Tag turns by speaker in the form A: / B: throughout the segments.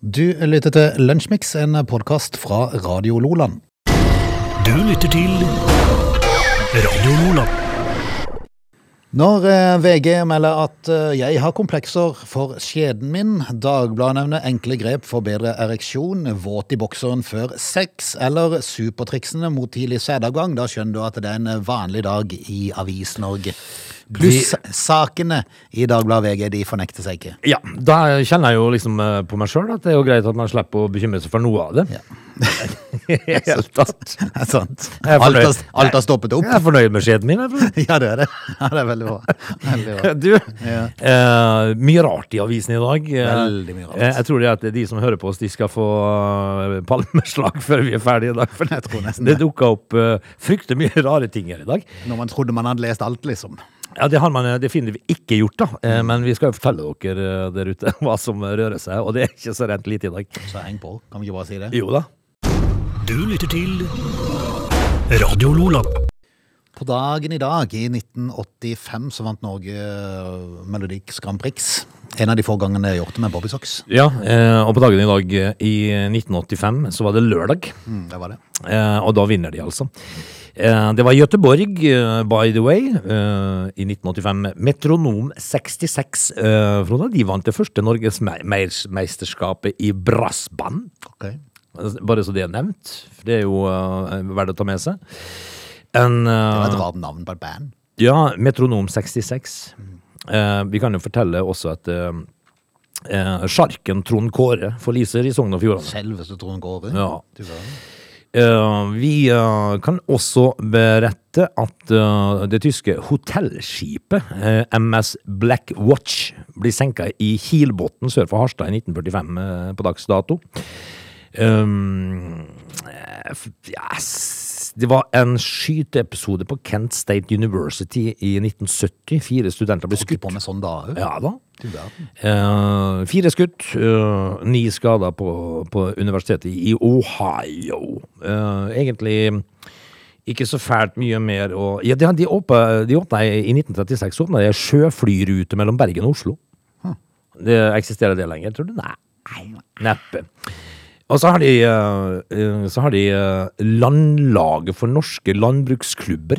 A: Du lytter til Lunsjmix, en podkast fra Radio Loland.
B: Du lytter til Radio Lola.
A: Når eh, VG melder at eh, jeg har komplekser for skjeden min, Dagbladet nevner enkle grep for bedre ereksjon, våt i bokseren før sex, eller supertriksene mot tidlig sædavgang, da skjønner du at det er en vanlig dag i Avis-Norge. Pluss sakene i Dagbladet VG, de fornekter seg ikke.
C: Ja, da kjenner jeg jo liksom eh, på meg sjøl at det er jo greit at man slipper å bekymre seg for noe av det.
A: Ja.
C: I hele tatt.
A: Det er sant.
C: Jeg er
A: Alt har,
C: fornøyd.
A: alt har stoppet opp.
C: Jeg er fornøyd med skjeden min. jeg er
A: Ja, det er det. Ja, det er veldig bra. Veldig bra.
C: fornøyd. Du, eh, mye rart i avisen i dag. Eh,
A: Veldig mye rart.
C: eh, Jeg tror det at de som hører på oss, de skal få eh, palmeslag før vi er ferdige i dag. For
A: Jeg tror nesten
C: det dukka opp eh, fryktelig mye rare ting her i dag.
A: Når man trodde man hadde lest alt, liksom.
C: Ja, Det har man eh, definitivt ikke gjort, da.
A: Mm.
C: Eh, Men vi skal jo fortelle dere eh, der ute hva som rører seg, og det er ikke så rent lite i dag.
A: Så heng på, kan vi ikke bare si det?
C: Jo da.
B: Du lytter til Radio Lola.
A: På dagen i dag, i 1985, så vant Norge eh, Melodi Grand Prix. En av de få gangene jeg har gjort det med Bobby Socks.
C: Ja, eh, og på dagen i dag eh, i 1985 så var det lørdag,
A: Mm, det var det.
C: eh, og da vinner de altså. Eh, det var Göteborg, eh, by the way, eh, i 1985. Metronom 66, eh, Frode, de vant det første Norgesmeisterskapet i brassband. Eh,
A: Ok.
C: Bare så det er nevnt, for det er jo eh, verdt å ta med seg. En, eh,
A: Det var et rart navn på et band.
C: ja, Metronom 66. Eh, vi kan jo fortelle også at eh, eh, sjarken Trond Kåre forliser i Sogn og Fjordane.
A: Selveste Trond Kåre.
C: Ja.
A: Du verden.
C: Eh, vi eh, kan også berette at eh, det tyske hotellskipet eh, MS Black Watch blir senka i Kilbotn sør for Harstad i 1945 eh, på dags dato. Um, eh, f- ja, s- det var en skyteepisode på Kent State University i 1970. Fire studenter ble
A: Holdt de
C: skutt.
A: på med sånn da òg?
C: Ja da.
A: Du verden.
C: Eh, fire skutt, eh, ni skader på, på universitetet i Ohio. Eh, egentlig ikke så fælt mye mer å Ja, de, de, åpna, de åpna i i 1936 åpna de ei sjøflyrute mellom Bergen og Oslo. Det Eksisterer det lenger, tror du? Nei. Neppe. Og så har de, eh, eh, så har de eh, Landlaget for norske landbruksklubber.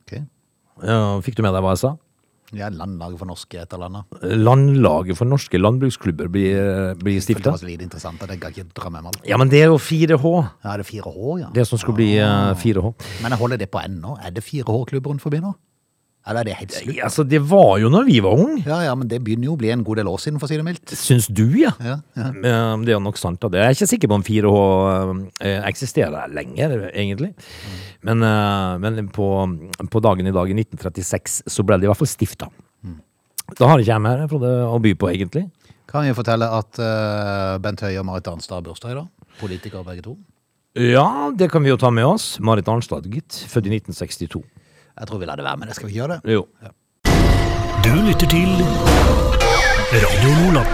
A: Ok.
C: Eh, fikk du med deg hva jeg sa?
A: Ja, Landlaget for norske et eller annet.
C: Landlaget for norske landbruksklubber blir, eh,
A: Følte
C: blir
A: det
C: stifta.
A: var så lite interessant at jeg kan ikke dra med meg alt.
C: Ja, men det er jo 4H.
A: Ja, er det 4H, ja?
C: Det som skulle bli eh, 4H.
A: Men jeg holder det på ennå. Er det 4H-klubb rundt forbi nå? Eller er det helt slutt?
C: Altså, det var jo når vi var unge.
A: Ja, ja, men det begynner jo å bli en god del år siden, for å si det mildt.
C: Syns du, ja.
A: Ja,
C: Eh, Det er nok sant. da. Det er jeg ikke sikker på om 4H eh, eksisterer lenger, egentlig. Men, eh, men på, på dagen i dag, i 1936, så ble det i hvert fall stifta. Da har ikke jeg mer Frode, å by på, egentlig.
A: Kan vi fortelle at eh, Bent Høie og Marit Arnstad har bursdag i dag? Politikere begge to.
C: Ja, det kan vi jo ta med oss. Marit Arnstad, gitt. Født i 1962.
A: Jeg tror vi lar det være, men det skal vi ikke gjøre det.
C: Jo.
B: Du lytter til Radio Lola.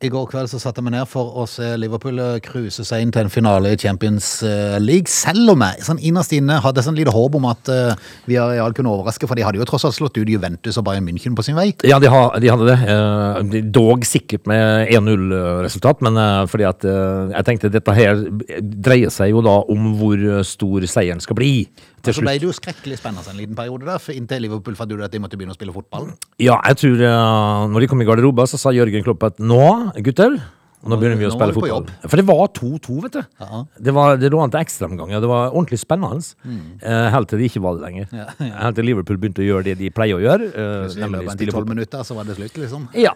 A: I går kveld så satte jeg meg ned for å se Liverpool eh, cruise seg inn til en finale i Champions eh, League, selv om jeg sånn innerst inne hadde sånn lite håp om at eh, vi real kunne overraske, for de hadde jo tross alt slått ut Juventus og Bayern München på sin vei.
C: Ja, de, ha, de hadde det. Eh, de- Dog sikkert med 1-0-resultat, men eh, fordi at eh, jeg tenkte dette her dreier seg jo da om hvor eh, stor seieren skal bli til
A: Så ble
C: slutt.
A: det jo skrekkelig spennende en liten periode der, for inntil Liverpool fant ut at de måtte begynne å spille fotball.
C: Ja, jeg tror eh, når de kom i garderoba, så sa Jørgen Klopp at nå, gutter nå begynner vi å
A: Nå er
C: spille
A: vi på
C: fotball. For det var 2-2, vet du.
A: Ja.
C: Det, var, det lå an til ekstraomganger. Det var ordentlig spennende.
A: Mm.
C: Eh, Helt til det ikke var det lenger. Helt til Liverpool begynte å gjøre det de pleier å gjøre. eh,
A: Så i
C: nemlig
A: løpet av
C: spille
A: de tolv minutter så var det slutt, liksom.
C: Ja.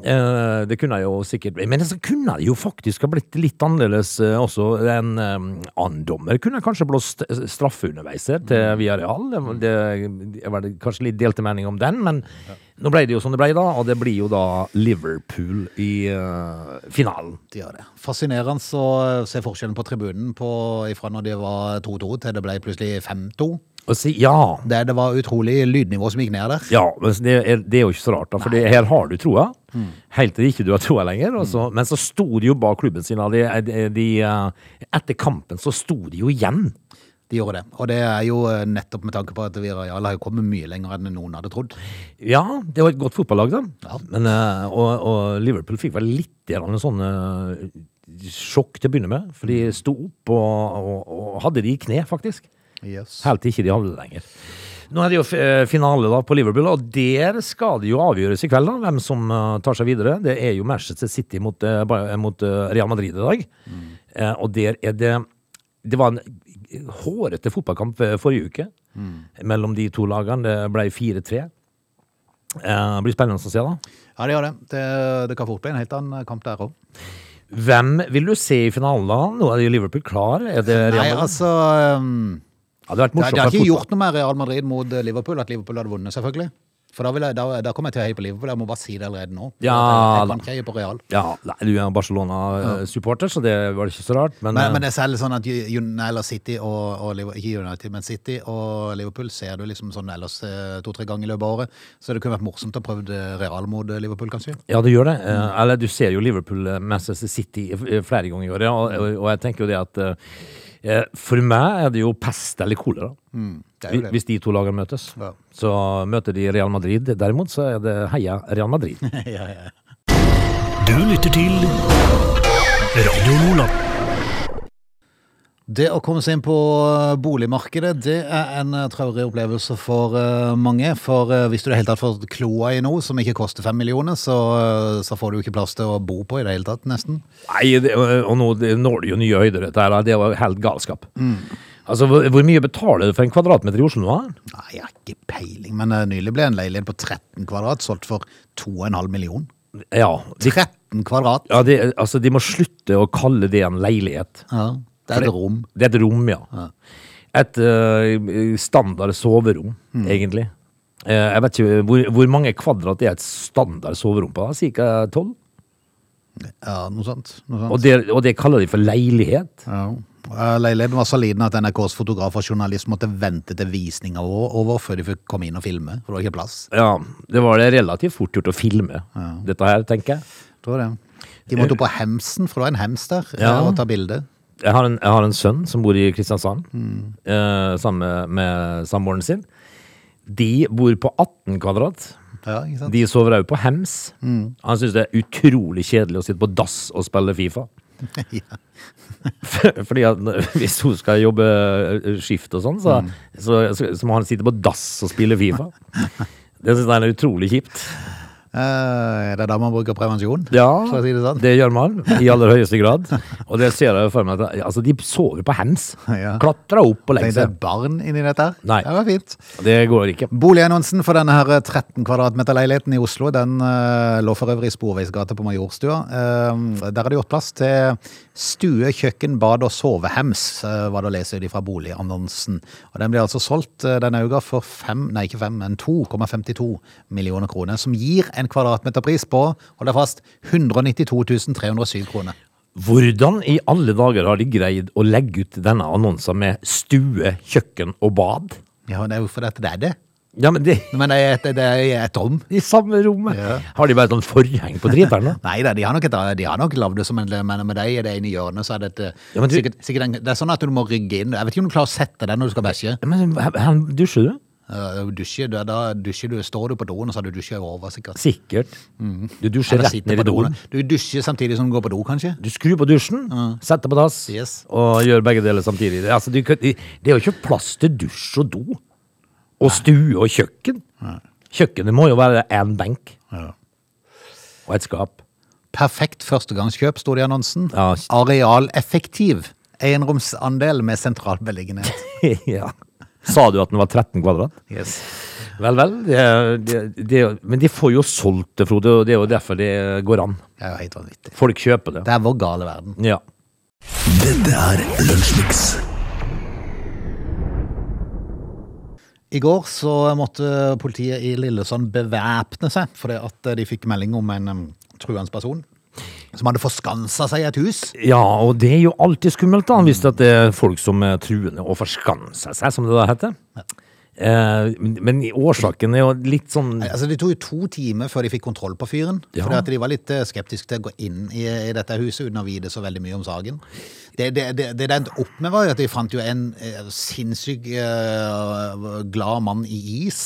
C: Eh, det kunne jo sikkert bli. Men så kunne det jo faktisk ha blitt litt annerledes eh, også. En eh, annen dommer kunne kanskje blåst eh, straffe underveis her til Viareal. Det, det, det var det kanskje litt delte meninger om den, men nå ble det jo som det ble, da. Og det blir jo da Liverpool i eh, finalen.
A: De gjør det. Fascinerende å se forskjellen på tribunen på, ifra når det var 2-2 til det ble plutselig 5-2.
C: Og si ja.
A: Det, det var utrolig lydnivå som gikk ned der.
C: Ja, men det er, det er jo ikke så rart, da, for det, her har du troa. Helt til ikke du har troa lenger. Og så, Men så sto de jo bak klubben sin. og De, de, de, eh, etter kampen så sto de jo igjen.
A: De De gjorde det. Og det er jo eh, nettopp med tanke på at Villarreal har jo kommet mye lenger enn noen hadde trodd.
C: Ja, det var et godt fotballag, da.
A: Ja.
C: Men, eh, og, og Liverpool fikk vel litt grann en sånn eh, sjokk til å begynne med. For de sto opp og, og, og hadde de i kne, faktisk. Helt til ikke de hadde det lenger. Nå er det jo eh, finale da på Liverpool, og der skal det jo avgjøres i kveld da, hvem som eh, tar seg videre. Det er jo Manchester City mot, eh, Bay- mot eh, Real Madrid i dag.
A: Mm.
C: Eh, Og der er det Det var en hårete fotballkamp eh, forrige uke
A: Mm.
C: mellom de to lagene. Det ble 4-3. Eh, Det blir spennende å se, da.
A: Ja, det gjør det. det. Det kan fort bli en helt annen eh, kamp der òg.
C: Hvem vil du se i finalen, da? Nå er jo Liverpool klar. Er det Real
A: Nei,
C: Madrid?
A: altså ehm,
C: Ja, det hadde vært
A: Det,
C: morsomt.
A: det har
C: med
A: ikke
C: fotball.
A: gjort noe med Real Madrid mot eh, Liverpool at Liverpool hadde vunnet, selvfølgelig. For da, vil jeg, da, da kommer jeg til å heie på Liverpool. Jeg må bare si det allerede nå.
C: Ja,
A: jeg, jeg
C: da.
A: kan ikke heie på Real.
C: Ja, nei, du er Barcelona-supporter, så det var ikke så rart. Men,
A: Men, men det er selv sånn at U- Un- eller City og, og Liver- ikke United, men City og Liverpool ser du liksom sånn ellers eh, to-tre ganger i løpet av året. Så det kunne vært morsomt å prøve det Real mot eh, Liverpool, kanskje.
C: Ja, det gjør det. Eh, Eller du ser jo Liverpool eh, Manchester City eh, flere ganger i året, og,
A: Mm.
C: og- og jeg tenker jo det at eh, eh, For meg er det jo pest eller kolera
A: Mm, Det er jo det.
C: hvis de to lagene møtes.
A: Ja.
C: Så møter de Real Madrid derimot, så er det heia Real Madrid.
A: ja, ja.
B: Du lytter til Radio Lola.
A: Det å komme seg inn på eh, boligmarkedet, det er en eh, traurig opplevelse for eh, mange. For eh, hvis du i det hele tatt får kloa i noe som ikke koster fem millioner, så, eh, så får du jo ikke plass til å bo på i det hele tatt, nesten.
C: Nei, det, eh, og og nå det når det jo nye høyder, dette her. da. Det var helt galskap.
A: Mm.
C: Altså, hvor, hvor mye betaler du for en kvadratmeter i Oslo nå? da?
A: Nei, jeg har ikke peiling, men eh, nylig ble en leilighet på 13 kvadrat solgt for 2,5 millioner.
C: Ja, de,
A: 13 kvadrat!
C: ja det, altså, de må slutte å kalle det en leilighet.
A: Ja, det er et rom.
C: Det er et rom, ja. Et eh, standard soverom, egentlig. Eh, jeg vet ikke hvor, hvor mange kvadrat er et standard soverom på? da? Cirka tolv?
A: Ja, noe sånt. Noe sånt.
C: Og, det- og det kaller de for leilighet?
A: Ja. Eh, Leiligheten var så liten at NRKs fotograf og journalist måtte vente til visninga var over før de fikk komme inn og filme, for det var ikke plass.
C: Ja, det var det relativt fort gjort å filme dette her, tenker jeg.
A: Tror det. De måtte opp på hemsen, for det var en hems der,
C: Eh. Ja.
A: og ta bilde.
C: Jeg har, en, jeg har en sønn som bor i Kristiansand, eh, sammen med, med samboeren sin. De bor på 18 kvadrat.
A: Ja, ikke sant?
C: De sover òg på hems.
A: Mm.
C: Han syns det er utrolig kjedelig å sitte på dass og spille Fifa.
A: ja.
C: Fordi at hvis hun skal jobbe skift og sånn, så,
A: Mm.
C: så, så, så må han sitte på dass og spille Fifa. Det syns jeg er utrolig kjipt.
A: Eh, det er da man bruker prevensjon, for å si det sånn.
C: det gjør man. I aller høyeste grad. Og det ser jeg jo for meg at Altså, de sover på hems.
A: Ja.
C: Klatra opp
A: Tenk
C: og legger
A: det er
C: seg.
A: barn inni dette her.
C: Nei.
A: Det var fint.
C: Det går ikke.
A: Boligannonsen for denne her eh, 13 kvadratmeter-leiligheten i Oslo, den eh, lå for øvrig i Sporveisgata på Majorstua. Eh, der er det gjort plass til stue, kjøkken, bad og sovehems, eh, var det å lese ut fra boligannonsen. Og den blir altså solgt eh, denne uka for fem, nei ikke fem, men 2,52 millioner kroner, som gir en kvadratmeterpris på, hold deg fast, 192 307 kroner.
C: Hvordan i alle dager har de greid å legge ut denne annonsen med stue, kjøkken og bad?
A: Ja, det er jo for dette det er det.
C: Ja, men det
A: Men det er et, det er et rom.
C: i samme rommet!
A: Ja.
C: Har de bare sånn forheng på driteren? da?
A: Nei da, de har nok, et- de har nok lagd det som en men med deg i det ene hjørnet, så er det et eh,
C: Ja, men du-
A: sikkert, sikkert en, Det er sånn at du må rygge inn. Jeg vet ikke om du klarer å sette deg når du skal bæsje.
C: Ja, Men han dusjer du?
A: Eh, dusje, da, da dusjer du, står du på doen, og så har du dusja over, sikkert.
C: Sikkert.
A: Mm.
C: Du dusjer
A: Eller
C: rett
A: sitter
C: ned i
A: på doen.
C: doen.
A: Du dusjer samtidig som du går på do, kanskje?
C: Du skrur på dusjen, setter på dass
A: Yes.
C: og gjør begge deler samtidig. Det- Altså, du, kan- det det er jo ikke plass til dusj og do. Og stue og kjøkken. Kjøkkenet må jo være én benk og et skap.
A: Perfekt førstegangskjøp, sto det i annonsen.
C: Ja.
A: Arealeffektiv. Enromsandel med sentral beliggenhet.
C: ja. Sa du at den var 13 kvadrat?
A: Yes.
C: Vel, vel. Det, er- det, det, er jo- men de får jo solgt det, Frode, og det er jo derfor det går an.
A: Det er jo helt vanvittig.
C: Folk kjøper det.
A: Det er vår gale verden.
C: Ja.
B: Dette er Lunsjmix.
A: I går så måtte politiet i Lillesand bevæpne seg, fordi at de fikk melding om en um, truende person som hadde forskansa seg i et hus.
C: Ja, og det er jo alltid skummelt, da, hvis det er folk som er truende og forskanser seg, som det da heter. Eh, men- men årsaken er jo litt sånn
A: Nei, Altså, Det tok jo to timer før de fikk kontroll på fyren.
C: Ja.
A: Fordi at de var litt eh, skeptiske til å gå inn i, i dette huset uten å vite så veldig mye om saken. Det det, det, det det endte opp med, var jo at de fant jo en eh, sinnssyk eh, glad mann i is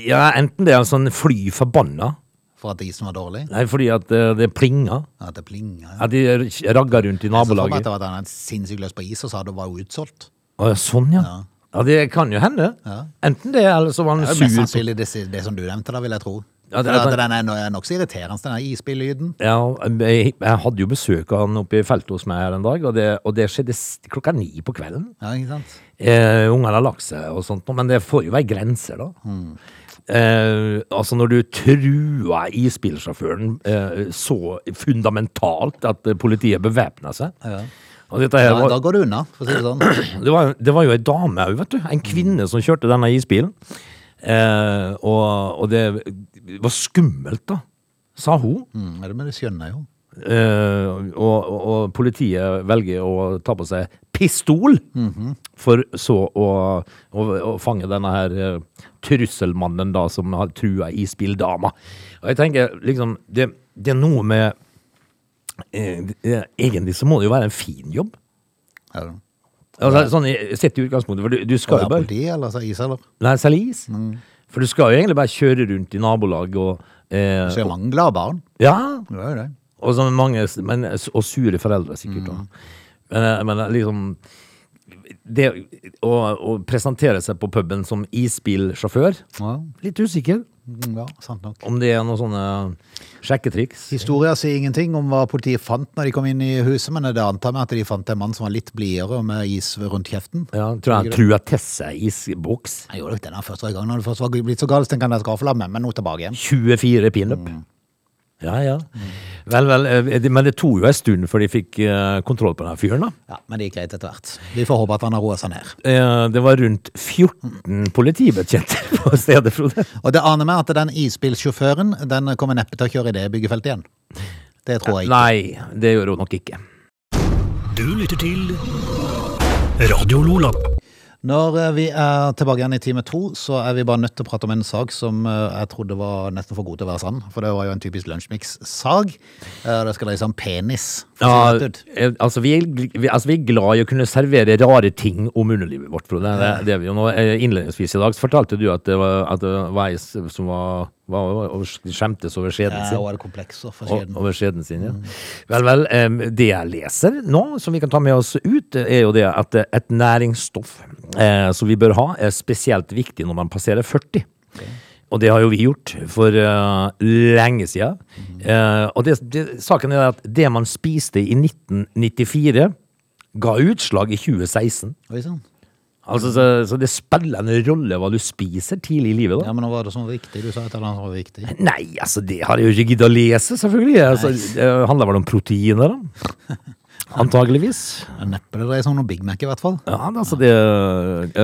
C: Ja, enten det er en sånn fly forbanna,
A: for at isen var dårlig.
C: nei, fordi at eh, det plinga,
A: At det plinga. ja.
C: at de r- ragga rundt i
A: Jeg Så for meg at
C: nabolaget.
A: det var at han hadde sinnssykt løs på is og sa det var jo utsolgt.
C: Å, ja, sånn, ja.
A: Ja.
C: Ja, det kan jo hende.
A: Ja.
C: Enten det, eller så var han
A: Det er jo
C: sur.
A: mest
C: på-
A: sannsynlig det, si- det som du nevnte, da, vil jeg tro.
C: Ja, det er-
A: For at den er no- er nokså irriterende, den der isbillyden.
C: Ja, jeg, jeg hadde jo besøk av han oppe i feltet hos meg her en dag, og det, og det skjedde s- klokka ni på kvelden.
A: Ja, ikke sant?
C: Eh, Ungene har lagt seg og sånt, men det får jo være grenser, da. Eh, altså Når du trua isbilsjåføren eh, så fundamentalt at eh, politiet bevæpna seg og dette her
A: Da, da
C: var,
A: går du unna, for å si det sånn.
C: det, var, det var jo ei dame òg, vet du. En kvinne som kjørte denne isbilen. Eh, og, og det var skummelt, da, sa hun.
A: Mm, ja, men du skjønner jo.
C: Eh, og, og, og politiet velger å ta på seg pistol for så å, å, å fange denne her eh, trusselmannen da, som har trua isbildama. Og jeg tenker liksom Det, det er noe med eh, eh, Egentlig så må det jo være en fin jobb.
A: Ja, da.
C: Altså, sånn, eh, sett i utgangspunktet, for du, du skal jo
A: Være
C: bare
A: politi, eller så is, eller?
C: Nei, selge is. For du skal jo egentlig bare kjøre rundt i nabolag og eh,
A: Så er det mange glade barn.
C: Ja,
A: Det var jo det.
C: Og, så mange, men, og sure foreldre, sikkert. da. Men, men liksom Det å, å presentere seg på puben som isbilsjåfør
A: Ja,
C: Litt usikker
A: mm, ja sant nok.
C: om det er noen sånne sjekketriks.
A: Historia sier ingenting om hva politiet fant når de kom inn i huset, men det antar vi at de fant en mann som var litt blidere og med is rundt kjeften.
C: Ja, tror jeg Truatesse-isboks.
A: Jeg gjorde nok det da jeg først var i gang. Når det først var blitt så galt, så tenkte jeg at jeg skal få la med meg noe tilbake igjen.
C: 24 pinup. Ja, ja. Vel, vel. eh, det- Men det tok jo en stund før de fikk eh, kontroll på den fyren, da.
A: Ja, Men det gikk greit etter hvert. Vi får håpe at han har roa seg ned.
C: Eh, Det var rundt 14 politibetjenter på stedet, Frode.
A: Og det aner meg at den isbilsjåføren den kommer neppe til å kjøre i det byggefeltet igjen. Det tror jeg ikke.
C: Nei, det gjør hun nok ikke.
B: Du lytter til Radio Lola.
A: Når eh, vi er tilbake igjen i time to, så er vi bare nødt til å prate om en sag som eh, jeg trodde var nesten for god til å være sann. For det var jo en typisk lunsjmix-sag. Eh, Det skal dreie seg om penis. for å
C: Ja,
A: si det rett ut.
C: eh, altså vi, er, gl- vi, altså vi er glad i å kunne servere rare ting om underlivet vårt, Frode. Det, det er vi jo nå. Eh, Innledningsvis i dag så fortalte du at det var, at det var ei s- som var, var, var og skjemtes over skjeden
A: Ja,
C: sin.
A: og er det komplekser for
C: O-
A: skjeden.
C: Over skjeden sin, ja. Vel, vel. em, Det jeg leser nå, som vi kan ta med oss ut, er jo det at eh, et næringsstoff eh, som vi bør ha, er spesielt viktig når man passerer 40. Og det har jo vi gjort for eh, lenge siden. Eh, og det, det, saken er at det man spiste i 1994, ga utslag i 2016.
A: Oi sann.
C: Altså, så, så det spiller en rolle hva du spiser tidlig i livet. da.
A: Ja, men nå var det sånn viktig. Du sa et eller annet som var viktig.
C: Nei, altså det har jeg jo ikke giddet å lese, selvfølgelig. Altså, det handler vel om proteiner, da. Antageligvis.
A: Men Neppe det dreier seg om noe Big Mac, i hvert fall.
C: Ja, men altså, det,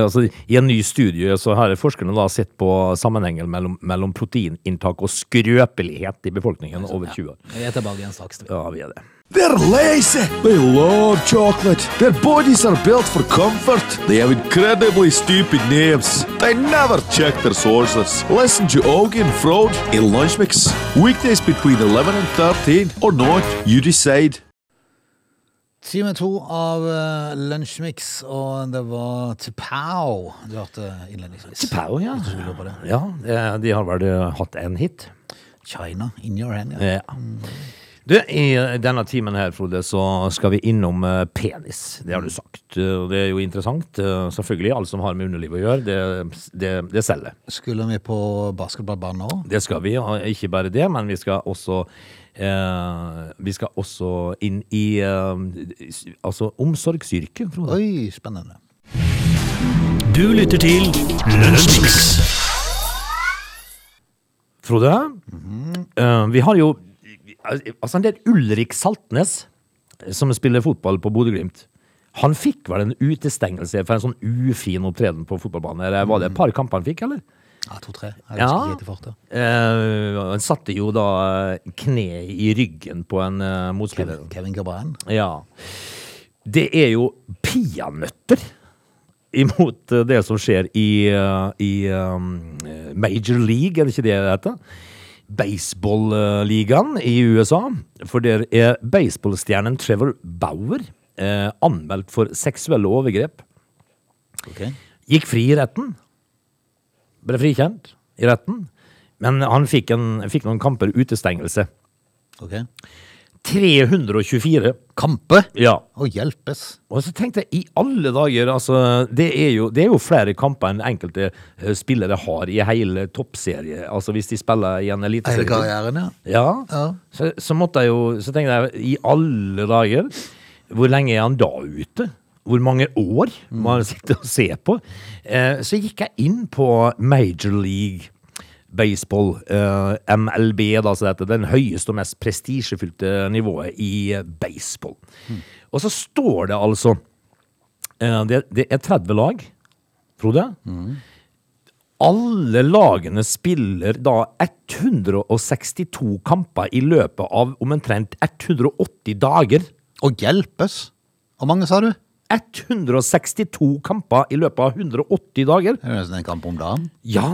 C: altså, I en ny studie så har forskerne da sett på sammenhengen mellom, mellom proteininntak og skrøpelighet i befolkningen over 20 år.
A: Vi er tilbake igjen straks.
C: Ja, vi er det.
D: They're lazy. They love chocolate. Their bodies are built for comfort. They have incredibly stupid names. They never check their sources. Listen to Augie and Frode in Lunch Mix. Weekdays between 11 and 13 or not, you decide.
A: Time to av uh, Lunsjmix, og det var Tupau du hørte innledningsvis.
C: Pau, ja. ja. eh, De har vel eh, hatt en hit.
A: China, in your hand. Ja.
C: Ja. Du, I denne timen her, Frode, så skal vi innom eh, penis. Det har du sagt. eh, og Det er jo interessant. eh, Selvfølgelig. Alt som har med underlivet å gjøre, det, det, det selger.
A: Skulle vi på basketballbanen nå?
C: Det skal vi. Og ikke bare det, men vi skal også eh, Vi skal også inn i eh, s- altså omsorgsyrket, Frode.
A: Oi, spennende.
B: Du lytter til Lunsjmix.
C: Frode, eh, vi har jo Altså, det er Ulrik Saltnes som spiller fotball på Bodø-Glimt. Han fikk vel en utestengelse for en sånn ufin opptreden på fotballbanen. Eller var det et par kamper han fikk, eller?
A: Ja, to-tre. Jeg
C: Ja.
A: husker ikke helt i farta.
C: Eh, han satte jo da eh, kneet i ryggen på en eh, motspiller.
A: Kevin Cabran.
C: Ja. Det er jo peanøtter imot eh, det som skjer i, eh, i eh, Major League, er det ikke det det heter? Baseball-ligaen i USA. For der er baseballstjernen Trevor Bauer eh, anmeldt for seksuelle overgrep.
A: Ok.
C: Gikk fri i retten. Ble frikjent i retten. Men han fikk, en, fikk noen kamper utestengelse.
A: ok.
C: 324.
A: Kampe?
C: Ja.
A: Å hjelpes.
C: Og så tenkte jeg, i alle dager, altså Det er jo, det er jo flere kamper enn enkelte eh, spillere har i hele toppserie. Altså hvis de spiller i en
A: Hele
C: eliteserie.
A: karrieren, ja.
C: Ja.
A: Ja.
C: Så, så måtte jeg jo Så tenkte jeg, i alle dager, hvor lenge er han da ute? Hvor mange år må han sitte og se på? Eh, så gikk jeg inn på Major League Baseball, eh, MLB, da, så dette, den høyeste og mest prestisjefylte nivået i eh, baseball. Og så står det altså eh, det, det er 30 lag, Frode. Alle lagene spiller da 162 kamper i løpet av omtrent 180 dager.
A: Å hjelpes. Hvor mange sa du?
C: 162 kamper i løpet av 180 dager.
A: Det er jo nesten en kamp om dagen.
C: Ja!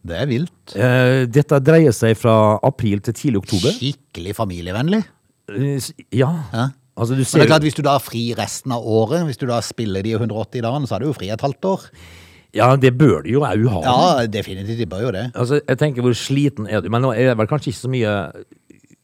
A: Det er vilt.
C: Eh, dette dreier seg fra april til tidlig oktober.
A: Skikkelig familievennlig.
C: Eh, s- Ja.
A: Ja.
C: Altså, du
A: Men
C: ser
A: det er klart, hvis du da har fri resten av året, hvis du da spiller de 180 dagene, så er du jo fri et halvt år.
C: Ja, det bør du jo òg ha.
A: Ja, definitivt. De bør jo det.
C: Altså, jeg tenker hvor sliten er du? Men nå er det vel kanskje ikke så mye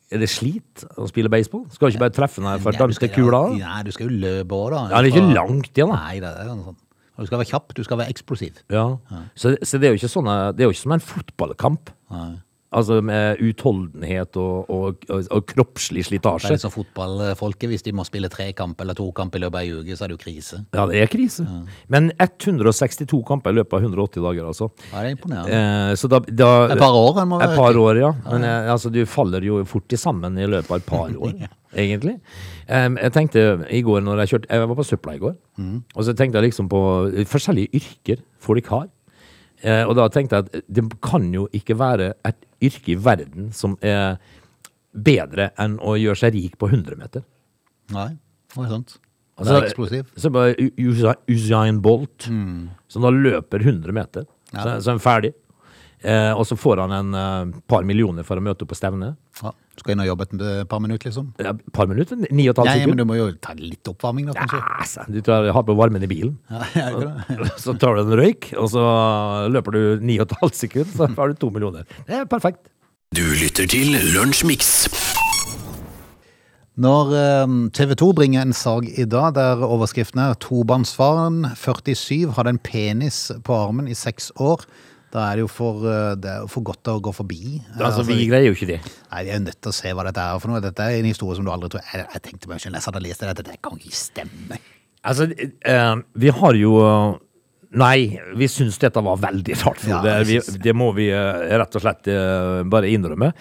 C: Er det slit å spille baseball? Skal du ikke bare treffe den her for
A: Ja, du skal-
C: danskekula?
A: ja, Nei, du skal jo løpe òg, da.
C: Ja, det er ikke langt igjen, da.
A: Nei, det er noe sånt. Og Du skal være kjapp, du skal være eksplosiv.
C: Ja. Så, så det er jo ikke sånn eh, Det er jo ikke som en fotballkamp.
A: Nei.
C: Altså med utholdenhet og, og, og, og kroppslig
A: Det er
C: slitasje.
A: litt sånn. som fotballfolket. Hvis de må spille tre kamp eller to kamp i løpet av ei uke, så er det jo krise.
C: Ja, det er krise. Men 162 kamper i løpet av 180 dager, altså.
A: Ja, det er imponerende.
C: Eh, så da, da
A: Et par år, en må
C: Et
A: være.
C: par år, ja. Men eh, altså, du faller jo fort i sammen i løpet av et par år, egentlig. Em, jeg tenkte i går når jeg kjørte Jeg var på søpla i går, og så tenkte jeg liksom på forskjellige yrker folk har. Eh, og da tenkte jeg at det kan jo ikke være et yrke i verden som er bedre enn å gjøre seg rik på 100 meter.
A: Nei, det er sant. Det
C: Altså,
A: er eksplosiv.
C: Så bare U- Usa- Usain Bolt, som da løper 100 meter, så, så er han ferdig. Eh, og så får han en eh, par millioner for å møte opp på stevne.
A: Ja. Du skal inn og jobbe et eh, par minutter, liksom.
C: Ja, Et par minutter? Ni og et halvt
A: Nei, men
C: sekund?
A: du må jo ta litt oppvarming, da,
C: Ja,
A: kanskje.
C: altså, du tar, har på varmen i bilen,
A: Ja, er det ikke det?
C: så tar du en røyk, og så løper du ni og et halvt sekund, så har du to millioner. Det er perfekt.
B: Du lytter til Lunsjmix.
A: Når eh, TV 2 bringer en sag i dag der overskriften er tobarnsfaren 47 hadde en penis på armen i seks år, da er det jo for, eh, det er jo for godt å gå forbi. Eh,
C: Altså, vi greier jo ikke det.
A: Nei, Jeg er nødt til å se hva dette er for noe. Dette er en historie som du aldri tror Jeg, jeg tenkte meg selv, jeg satt og leste dette, det kan ikke stemme.
C: Altså, eh, vi har jo eh, Nei, vi syns dette var veldig rart,
A: Ja,
C: Frode.
A: det
C: Vi-
A: syns jeg.
C: det må vi eh, rett og slett eh, bare innrømme.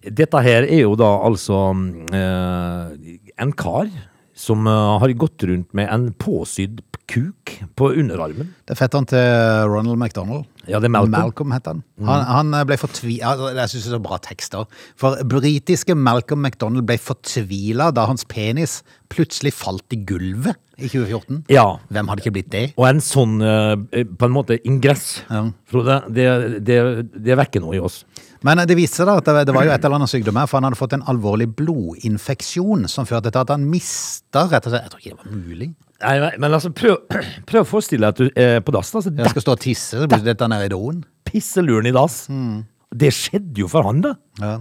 C: Dette her er jo da altså mm, eh, en kar som eh, har gått rundt med en påsydd kuk på underarmen.
A: Det er fetteren til Ronald McDonald.
C: Ja, det er Malcolm.
A: heter han. Han, han ble fortvila altså, Jeg syns det er så bra tekster. For britiske Malcolm McDonald ble fortvila da hans penis plutselig falt i gulvet i 2014.
C: Ja.
A: Hvem hadde ikke blitt det?
C: Og en sånn, eh, på en måte, ingress,
A: Ja.
C: Frode, det, det, det vekker noe i oss.
A: Men eh, det viste seg da at det- det var jo et eller annet sykdom her, for han hadde fått en alvorlig blodinfeksjon som førte til at han mista rett og slett Jeg tror ikke det var mulig.
C: Nei, nei, men altså, prøv, prøv å forestille deg at du er på dass, da, så
A: Jeg skal stå og tisse, så plutselig detter han ned i doen.
C: pisseluren i dass. Det skjedde jo for han, da.
A: Ja.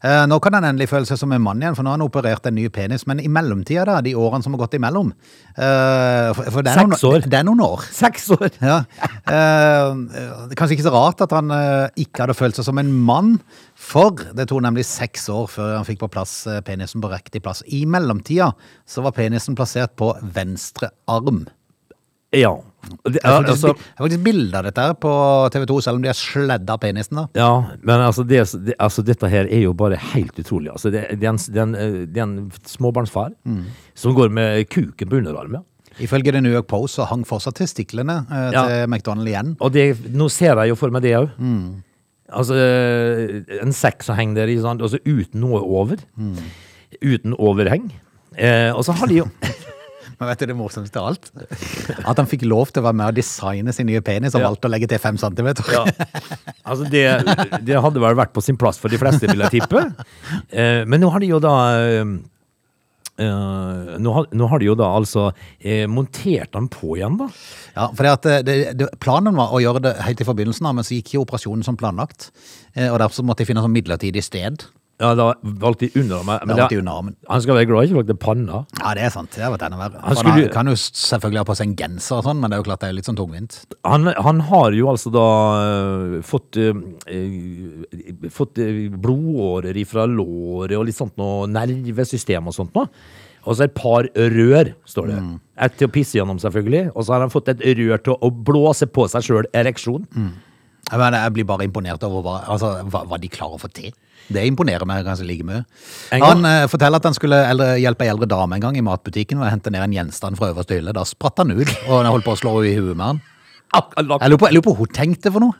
A: Eh, Nå kan han endelig føle seg som en mann igjen, for nå har han operert en ny penis. Men i mellomtida, da, de årene som har gått imellom eh, for, for det, er
C: Seks år.
A: noen, det er noen år.
C: Seks år!
A: Ja. Eh, det er kanskje ikke så rart at han eh, ikke hadde følt seg som en mann, for det tok nemlig seks år før han fikk på plass eh, penisen på riktig plass. I mellomtida så var penisen plassert på venstre arm.
C: Ja. Og Det,
A: Det er
C: altså,
A: faktisk, bi- det er faktisk bilder av dette her på TV 2, selv om de har sledda penisen. da.
C: ja, men altså, det, det, altså, dette her er jo bare helt utrolig. Altså, det, det, er en, det, er en, eh, det er en småbarnsfar som går med kuken på underarmen.
A: Ifølge The New York Post så hang fortsatt testiklene eh,
C: Ja.
A: til McDonald igjen.
C: Og det, nå ser jeg jo for meg det òg.
A: Mm.
C: Altså, eh, en sekk som henger der, ikke sant? Altså, og
A: Mm.
C: så uten noe over. Uten overheng. Eh, og så har de jo
A: Men vet du det morsomste av alt? At han fikk lov til å være med og designe sin nye penis, og
C: Ja.
A: valgte å legge til fem centimeter.
C: Ja. Altså det, det hadde vel vært på sin plass for de fleste, vil jeg tippe. Eh, men nå har de jo da eh, eh, nå, har, nå har de jo da altså eh, montert den på igjen, da.
A: Ja, for det at eh, det, det, planen var å gjøre det helt i forbindelsen, av, men så gikk jo operasjonen som planlagt. Eh, Og derfor så måtte de finne sånn midlertidig sted.
C: Ja, da valgte de under meg.
A: Da
C: Men
A: måtte
C: det-
A: de under armen.
C: han skal være glad ikke valgte panna.
A: Ja, det er sant. Det har vært enda verre.
C: Han
A: For Han
C: skulle-
A: kan jo s- selvfølgelig ha på seg en genser og sånn, men det er jo klart det er litt sånn tungvint.
C: Han, han har jo altså da eh, fått, eh, eh, fått eh, blodårer ifra låret og litt sånt noe nervesystem og sånt noe. Og så et par rør, står det.
A: Mm.
C: Et til å pisse gjennom, selvfølgelig. Og så har han fått et rør til å blåse på seg sjøl ereksjon.
A: Mm. Jeg, mener, jeg blir bare imponert over hva, altså, hva, hva de klarer å få til. Det imponerer meg ganske like mye.
C: En gang-
A: Han eh, forteller at han skulle eldre, hjelpe ei eldre dame en gang i matbutikken og hente ned en gjenstand fra øverste hylle. Da spratt han ut, og han holdt på å slå henne i huet med han.
C: Akkurat.
A: Jeg lurer på jeg lurer på hva hun tenkte for noe.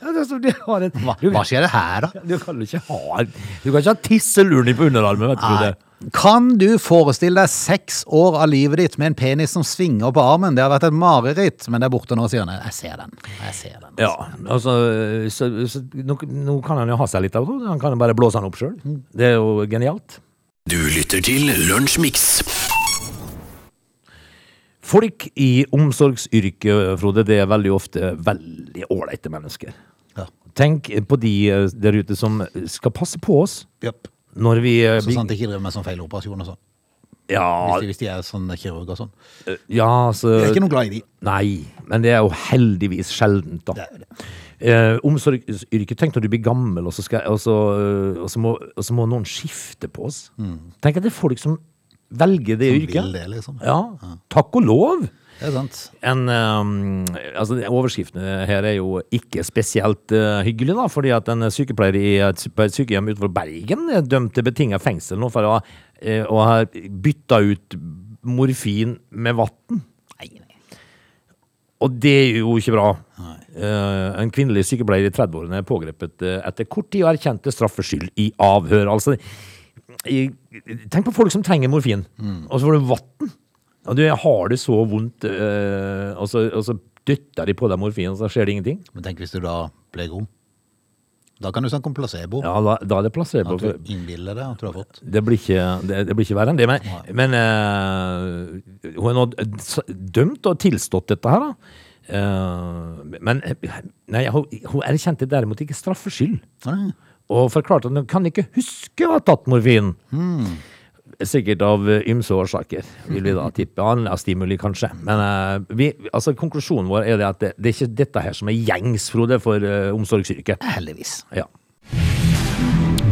C: Ja, det er som de har et-
A: Hva,
C: Du-
A: hva skjer det her, da?
C: Du kan jo ikke ha Du kan ikke ha tisseluren på underarmen, vet du
A: Nei.
C: det.
A: Kan du forestille deg seks år av livet ditt med en penis som svinger på armen? Det har vært et mareritt, men det er borte nå, sier han. Jeg ser den. Jeg ser den.
C: Ja, altså så, så, nå, nå kan han jo ha seg litt av det. Han kan jo bare blåse han opp sjøl.
A: Mm.
C: Det er jo genialt.
B: Du lytter til Lunsjmix.
C: Folk i omsorgsyrket, Frode, det er veldig ofte veldig ålreite mennesker.
A: Ja.
C: Tenk på de eh, der ute som skal passe på oss
A: Jøpp.
C: når vi eh,
A: Så
C: blir-
A: sant de ikke driver med sånn feil operasjon og sånn.
C: Ja,
A: Hvis, de- hvis de er sånn kirurg og sånn.
C: eh, ja så
A: Jeg er ikke noe glad i de.
C: Nei, men det er jo heldigvis sjeldent, da.
A: Det er det.
C: Eh, omsorgsyrket. Tenk når du blir gammel, og så, skal, og så, eh, og så, må, og så må noen skifte på oss. Tenk at det er folk som velger det
A: Mm. Som
C: yrket.
A: vil det, liksom.
C: Ja. Takk og lov!
A: Det er sant.
C: En, eh, altså, de overskriftene her er jo ikke spesielt eh, hyggelig, da, fordi at en sykepleier i et, på et sykehjem utenfor Bergen er dømt til betinget fengsel nå for å, eh, å ha bytta ut morfin med vann.
A: Nei, nei.
C: Og det er jo ikke bra. Eh, en kvinnelig sykepleier i 30-årene er pågrepet eh, etter kort tid og erkjente straffskyld i avhør. Altså, i, tenk på folk som trenger morfin,
A: Mm.
C: og så får du vann. Og du har det så vondt, eh, og, så, og så dytter de på deg morfin, og så skjer det ingenting.
A: Men tenk hvis du da ble god. Da kan du snakke om placebo.
C: Ja, da, da er det placebo.
A: At du innbiller deg at du har fått.
C: Det blir ikke, det, det blir ikke verre enn det. Men, men eh, hun er nå s- dømt og tilstått dette her, da. Eh, men eh, nei, hun, hun erkjente derimot ikke straffskyld.
A: Nei.
C: Og forklarte at hun kan ikke huske å ha tatt morfin. Sikkert av eh, ymse årsaker, vil vi da tippe. Annen stimuli, kanskje. Men eh, vi, altså, konklusjonen vår er det at det, det er ikke dette her som er gjengs, Frode, for eh, omsorgsyrket.
A: Heldigvis.
C: Ja.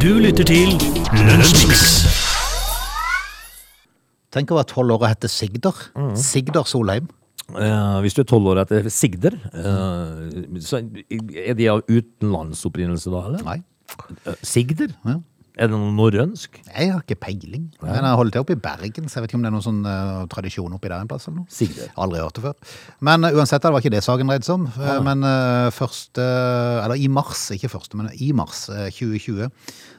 B: Du lytter til Lunsjmix.
A: Tenk å være tolv år og hete Sigder.
C: Mm.
A: Sigder Solheim.
C: Eh, hvis du er tolv år etter Sigder, eh, så er de av utenlandsopprinnelse da, eller?
A: Nei.
C: Eh, Sigder?
A: Ja.
C: Er det noe norrønsk?
A: Jeg har ikke peiling. Men jeg holder til oppe i Bergen, så jeg vet ikke om det er noen sånn eh, tradisjon oppi der en plass eller noe.
C: Sigrid.
A: Aldri hørt det før. Men eh, uansett, det var ikke det saken dreide seg om. Eh, men eh, først, eh, eller i mars, ikke først, men i mars eh, 2020,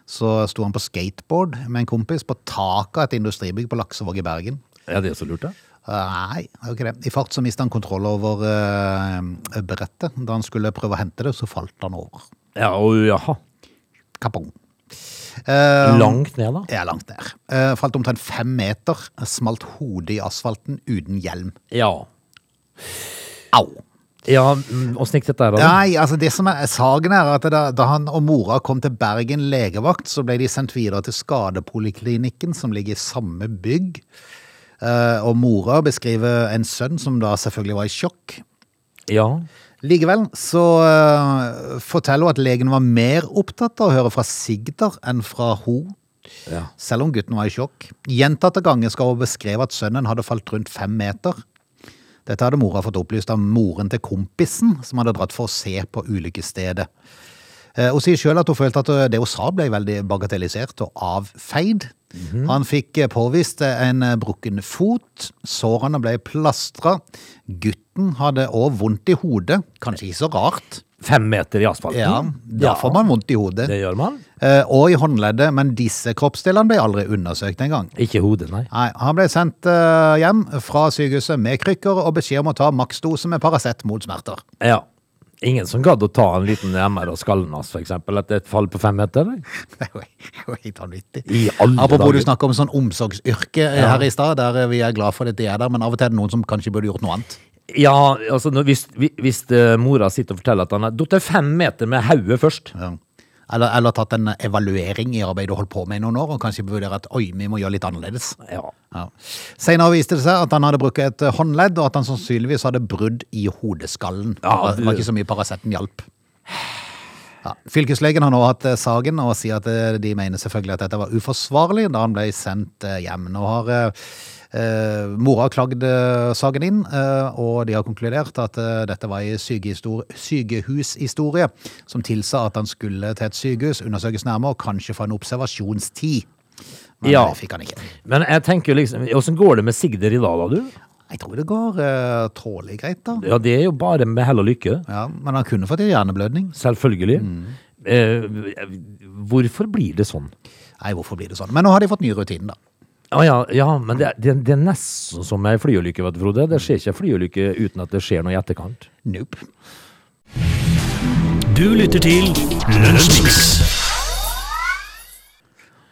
A: så sto han på skateboard med en kompis på taket av et industribygg på Laksevåg i Bergen.
C: Er det så lurt, da?
A: Eh, Nei, det var ikke det. I fart så mistet han kontroll over eh, brettet. Da han skulle prøve å hente det, så falt han over.
C: Ja, og jaha.
A: Kapong. Eh,
C: Langt ned, da?
A: Jeg er langt ned. Eh, Falt omtrent fem meter, smalt hodet i asfalten uten hjelm.
C: Ja.
A: Au!
C: Ja, mm, Åssen gikk dette her, da?
A: Nei, altså det som er saken er at da, da han og mora kom til Bergen legevakt, så ble de sendt videre til skadepoliklinikken som ligger i samme bygg. Eh, Og mora beskriver en sønn som da selvfølgelig var i sjokk.
C: Ja.
A: Likevel så eh, forteller hun at legen var mer opptatt av å høre fra Sigder enn fra hun.
C: ja.
A: Selv om gutten var i sjokk. Gjentatte ganger skal hun beskrive at sønnen hadde falt rundt fem meter. Dette hadde mora fått opplyst av moren til kompisen, som hadde dratt for å se på ulykkesstedet. Eh, Hun sier sjøl at hun følte at eh, det hun sa ble veldig bagatellisert og avfeid. Han fikk eh, påvist eh, en eh, brukken fot, sårene ble plastra, gutten hadde òg vondt i hodet, kanskje ikke så rart.
C: Fem meter i asfalten?
A: Ja, da får man vondt i hodet.
C: Det gjør man.
A: eh, og i håndleddet, men disse kroppsdelene ble aldri undersøkt engang.
C: Ikke hodet, nei.
A: Nei, han ble sendt eh, hjem fra sykehuset med krykker og beskjed om å ta maksdose med Paracet mot smerter.
C: Ja. Ingen som gadd å ta en liten MR av skallen hans, for eksempel, etter et fall på fem meter? eller?
A: Det er jo- det er jo helt vanvittig.
C: I alle
A: Apropos du
C: dager.
A: snakker om sånn omsorgsyrke eh, her i stad, der eh, vi er glad for at de er der, men av og til er det noen som kanskje burde gjort noe annet.
C: Ja, altså, når, hvis, hvi- hvis eh, mora sitter og forteller at han har datt fem meter med hodet først
A: Ja. Eller, eller tatt en evaluering i arbeidet du holdt på med i noen år, og kanskje vurdere at oi, vi må gjøre litt annerledes.
C: Ja.
A: Ja. Senere viste det seg at han hadde brukt et eh, håndledd, og at han sannsynligvis hadde brudd i hodeskallen.
C: Ja,
A: det var
C: du-
A: ikke så mye Paraceten hjalp. Ja. Fylkeslegen har nå hatt eh, saken og sier at eh, de mener selvfølgelig at dette var uforsvarlig da han ble sendt eh, hjem. Nå har eh, eh, mora klagd eh, saken inn, eh, og de har konkludert at eh, dette var en sykehistor- sykehushistorie som tilsa at han skulle til et sykehus, undersøkes nærmere og kanskje få en observasjonstid. Men
C: Ja.
A: det fikk han ikke.
C: Men jeg tenker jo liksom Åssen går det med Sigder i dag, da, du?
A: Jeg tror det går uh, tålelig greit, da.
C: Ja, det er jo bare med hell og lykke.
A: Ja, Men han kunne fått en hjerneblødning.
C: Selvfølgelig.
A: Mm.
C: Eh, hvorfor blir det sånn?
A: Nei, hvorfor blir det sånn? Men nå har de fått ny rutine, da.
C: Å ja, ja, men det, det, det er nesten som ei flyulykke, vet du, Frode. Det skjer ikke ei flyulykke uten at det skjer noe i etterkant.
A: Nope.
B: Du lytter til Lunsjmix.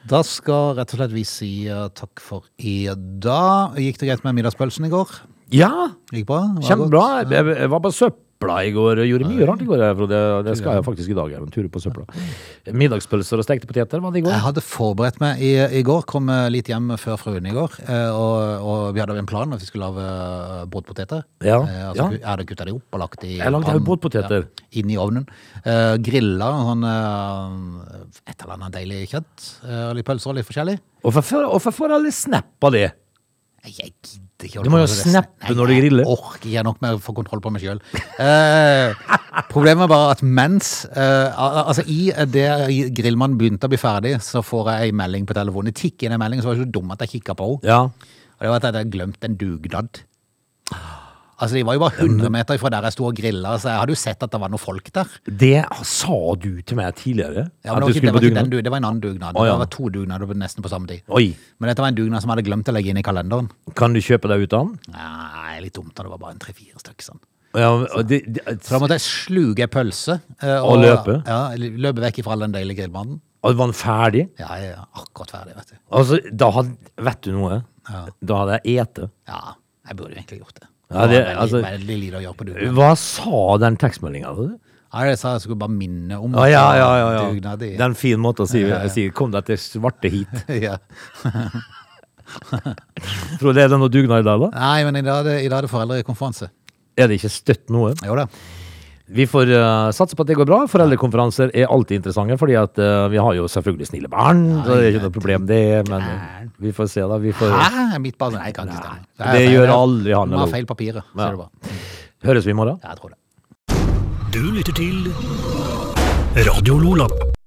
A: Da skal rett og slett vi si eh, takk for i dag. Gikk det greit med middagspølsen i går?
C: Ja!
A: Gikk bra? Var det
C: Kjempebra.
A: godt?
C: Jeg, jeg, jeg var på søpla i går og gjorde mye rart i går. jeg, Frode. Det skal jeg faktisk i dag. Jeg, en tur på søpla. Middagspølser og stekte poteter var det i
A: Jeg
C: går.
A: hadde forberedt meg i, i går, kom eh, litt hjem før fruen i går, eh, og, og vi hadde en plan at vi skulle lage eh, båtpoteter.
C: Ja,
A: Eh, altså,
C: ja.
A: Jeg hadde kutta de opp og lagt de i
C: Jeg lagde
A: pannen.
C: båtpoteter.
A: Ja, inn i ovnen. Eh, grilla sånn eh, et eller annet deilig kjøtt. eh, og litt pølser og litt forskjellig.
C: Hvorfor får alle snapp av det?
A: Nei, Jeg gidder ikke. holde
C: Du må
A: på
C: jo
A: med det.
C: snappe
A: Nei,
C: når du griller.
A: Jeg orker ikke nok med å få kontroll på meg sjøl. Eh, problemet er bare at mens eh, al- Altså, i det grillmannen begynte å bli ferdig, så får jeg ei melding på telefonen. Det tikket inn en melding, så var det så dum at jeg kikka på henne.
C: Ja.
A: Og det var at jeg hadde glemt en dugnad. Altså, De var jo bare 100 meter fra der jeg sto og grilla, så jeg hadde jo sett at det var noen folk der.
C: Det sa du til meg tidligere.
A: Ja, men det,
C: at
A: var ikke,
C: du
A: det,
C: skulle på
A: var ikke
C: dugnad.
A: den, du- det var en annen dugnad.
C: Å, ja.
A: Det var to dugnader nesten på samme tid.
C: Oi.
A: Men dette var en dugnad som jeg hadde glemt å legge inn i kalenderen.
C: Kan du kjøpe deg ut av den?
A: Nei, litt dumt da det var bare en tre-fire stykker sånn.
C: Ja, og det, det,
A: Så da måtte jeg sluke ei pølse. eh,
C: Og løpe?
A: Ja, eller løpe vekk ifra all den deilige grillmannen.
C: og var den ferdig?
A: Ja, jeg er akkurat ferdig, vet du.
C: Altså, da hadde, vet du noe? Da hadde jeg ete.
A: Ja, jeg burde jo egentlig gjort det.
C: Ja, det-
A: var veldig,
C: altså-
A: veldig lite å gjøre på dugnad.
C: Hva sa den tekstmeldinga?
A: Ja, det sa jeg skulle bare minne om
C: Ja,
A: at
C: ja,
A: det
C: ja,
A: var
C: ja, ja.
A: dugnad
C: Det
A: i
C: er en fin måte å si, si 'kom deg til svarte hit'.
A: ja.
C: Frode, er det noe dugnad i dag, da?
A: Nei, men i dag, er det- i dag er det foreldrekonferanse.
C: Er det ikke støtt noe?
A: Jo da.
C: Vi får eh, satse på at det går bra. Foreldrekonferanser er alltid interessante, fordi at eh, vi har jo selvfølgelig snille barn. så det er ikke noe problem, det. Men eh, vi får se, da. Vi får
A: Hæ? Mitt barn Nei, jeg kan ikke
C: Nei,
A: stemme.
C: det gjør aldri han,
A: Du må ha
C: eller?
A: feil papirer, sier
C: Ja.
A: du bare.
C: Høres vi i morgen?
A: Ja, jeg tror det.
B: Du lytter til Radio Lola.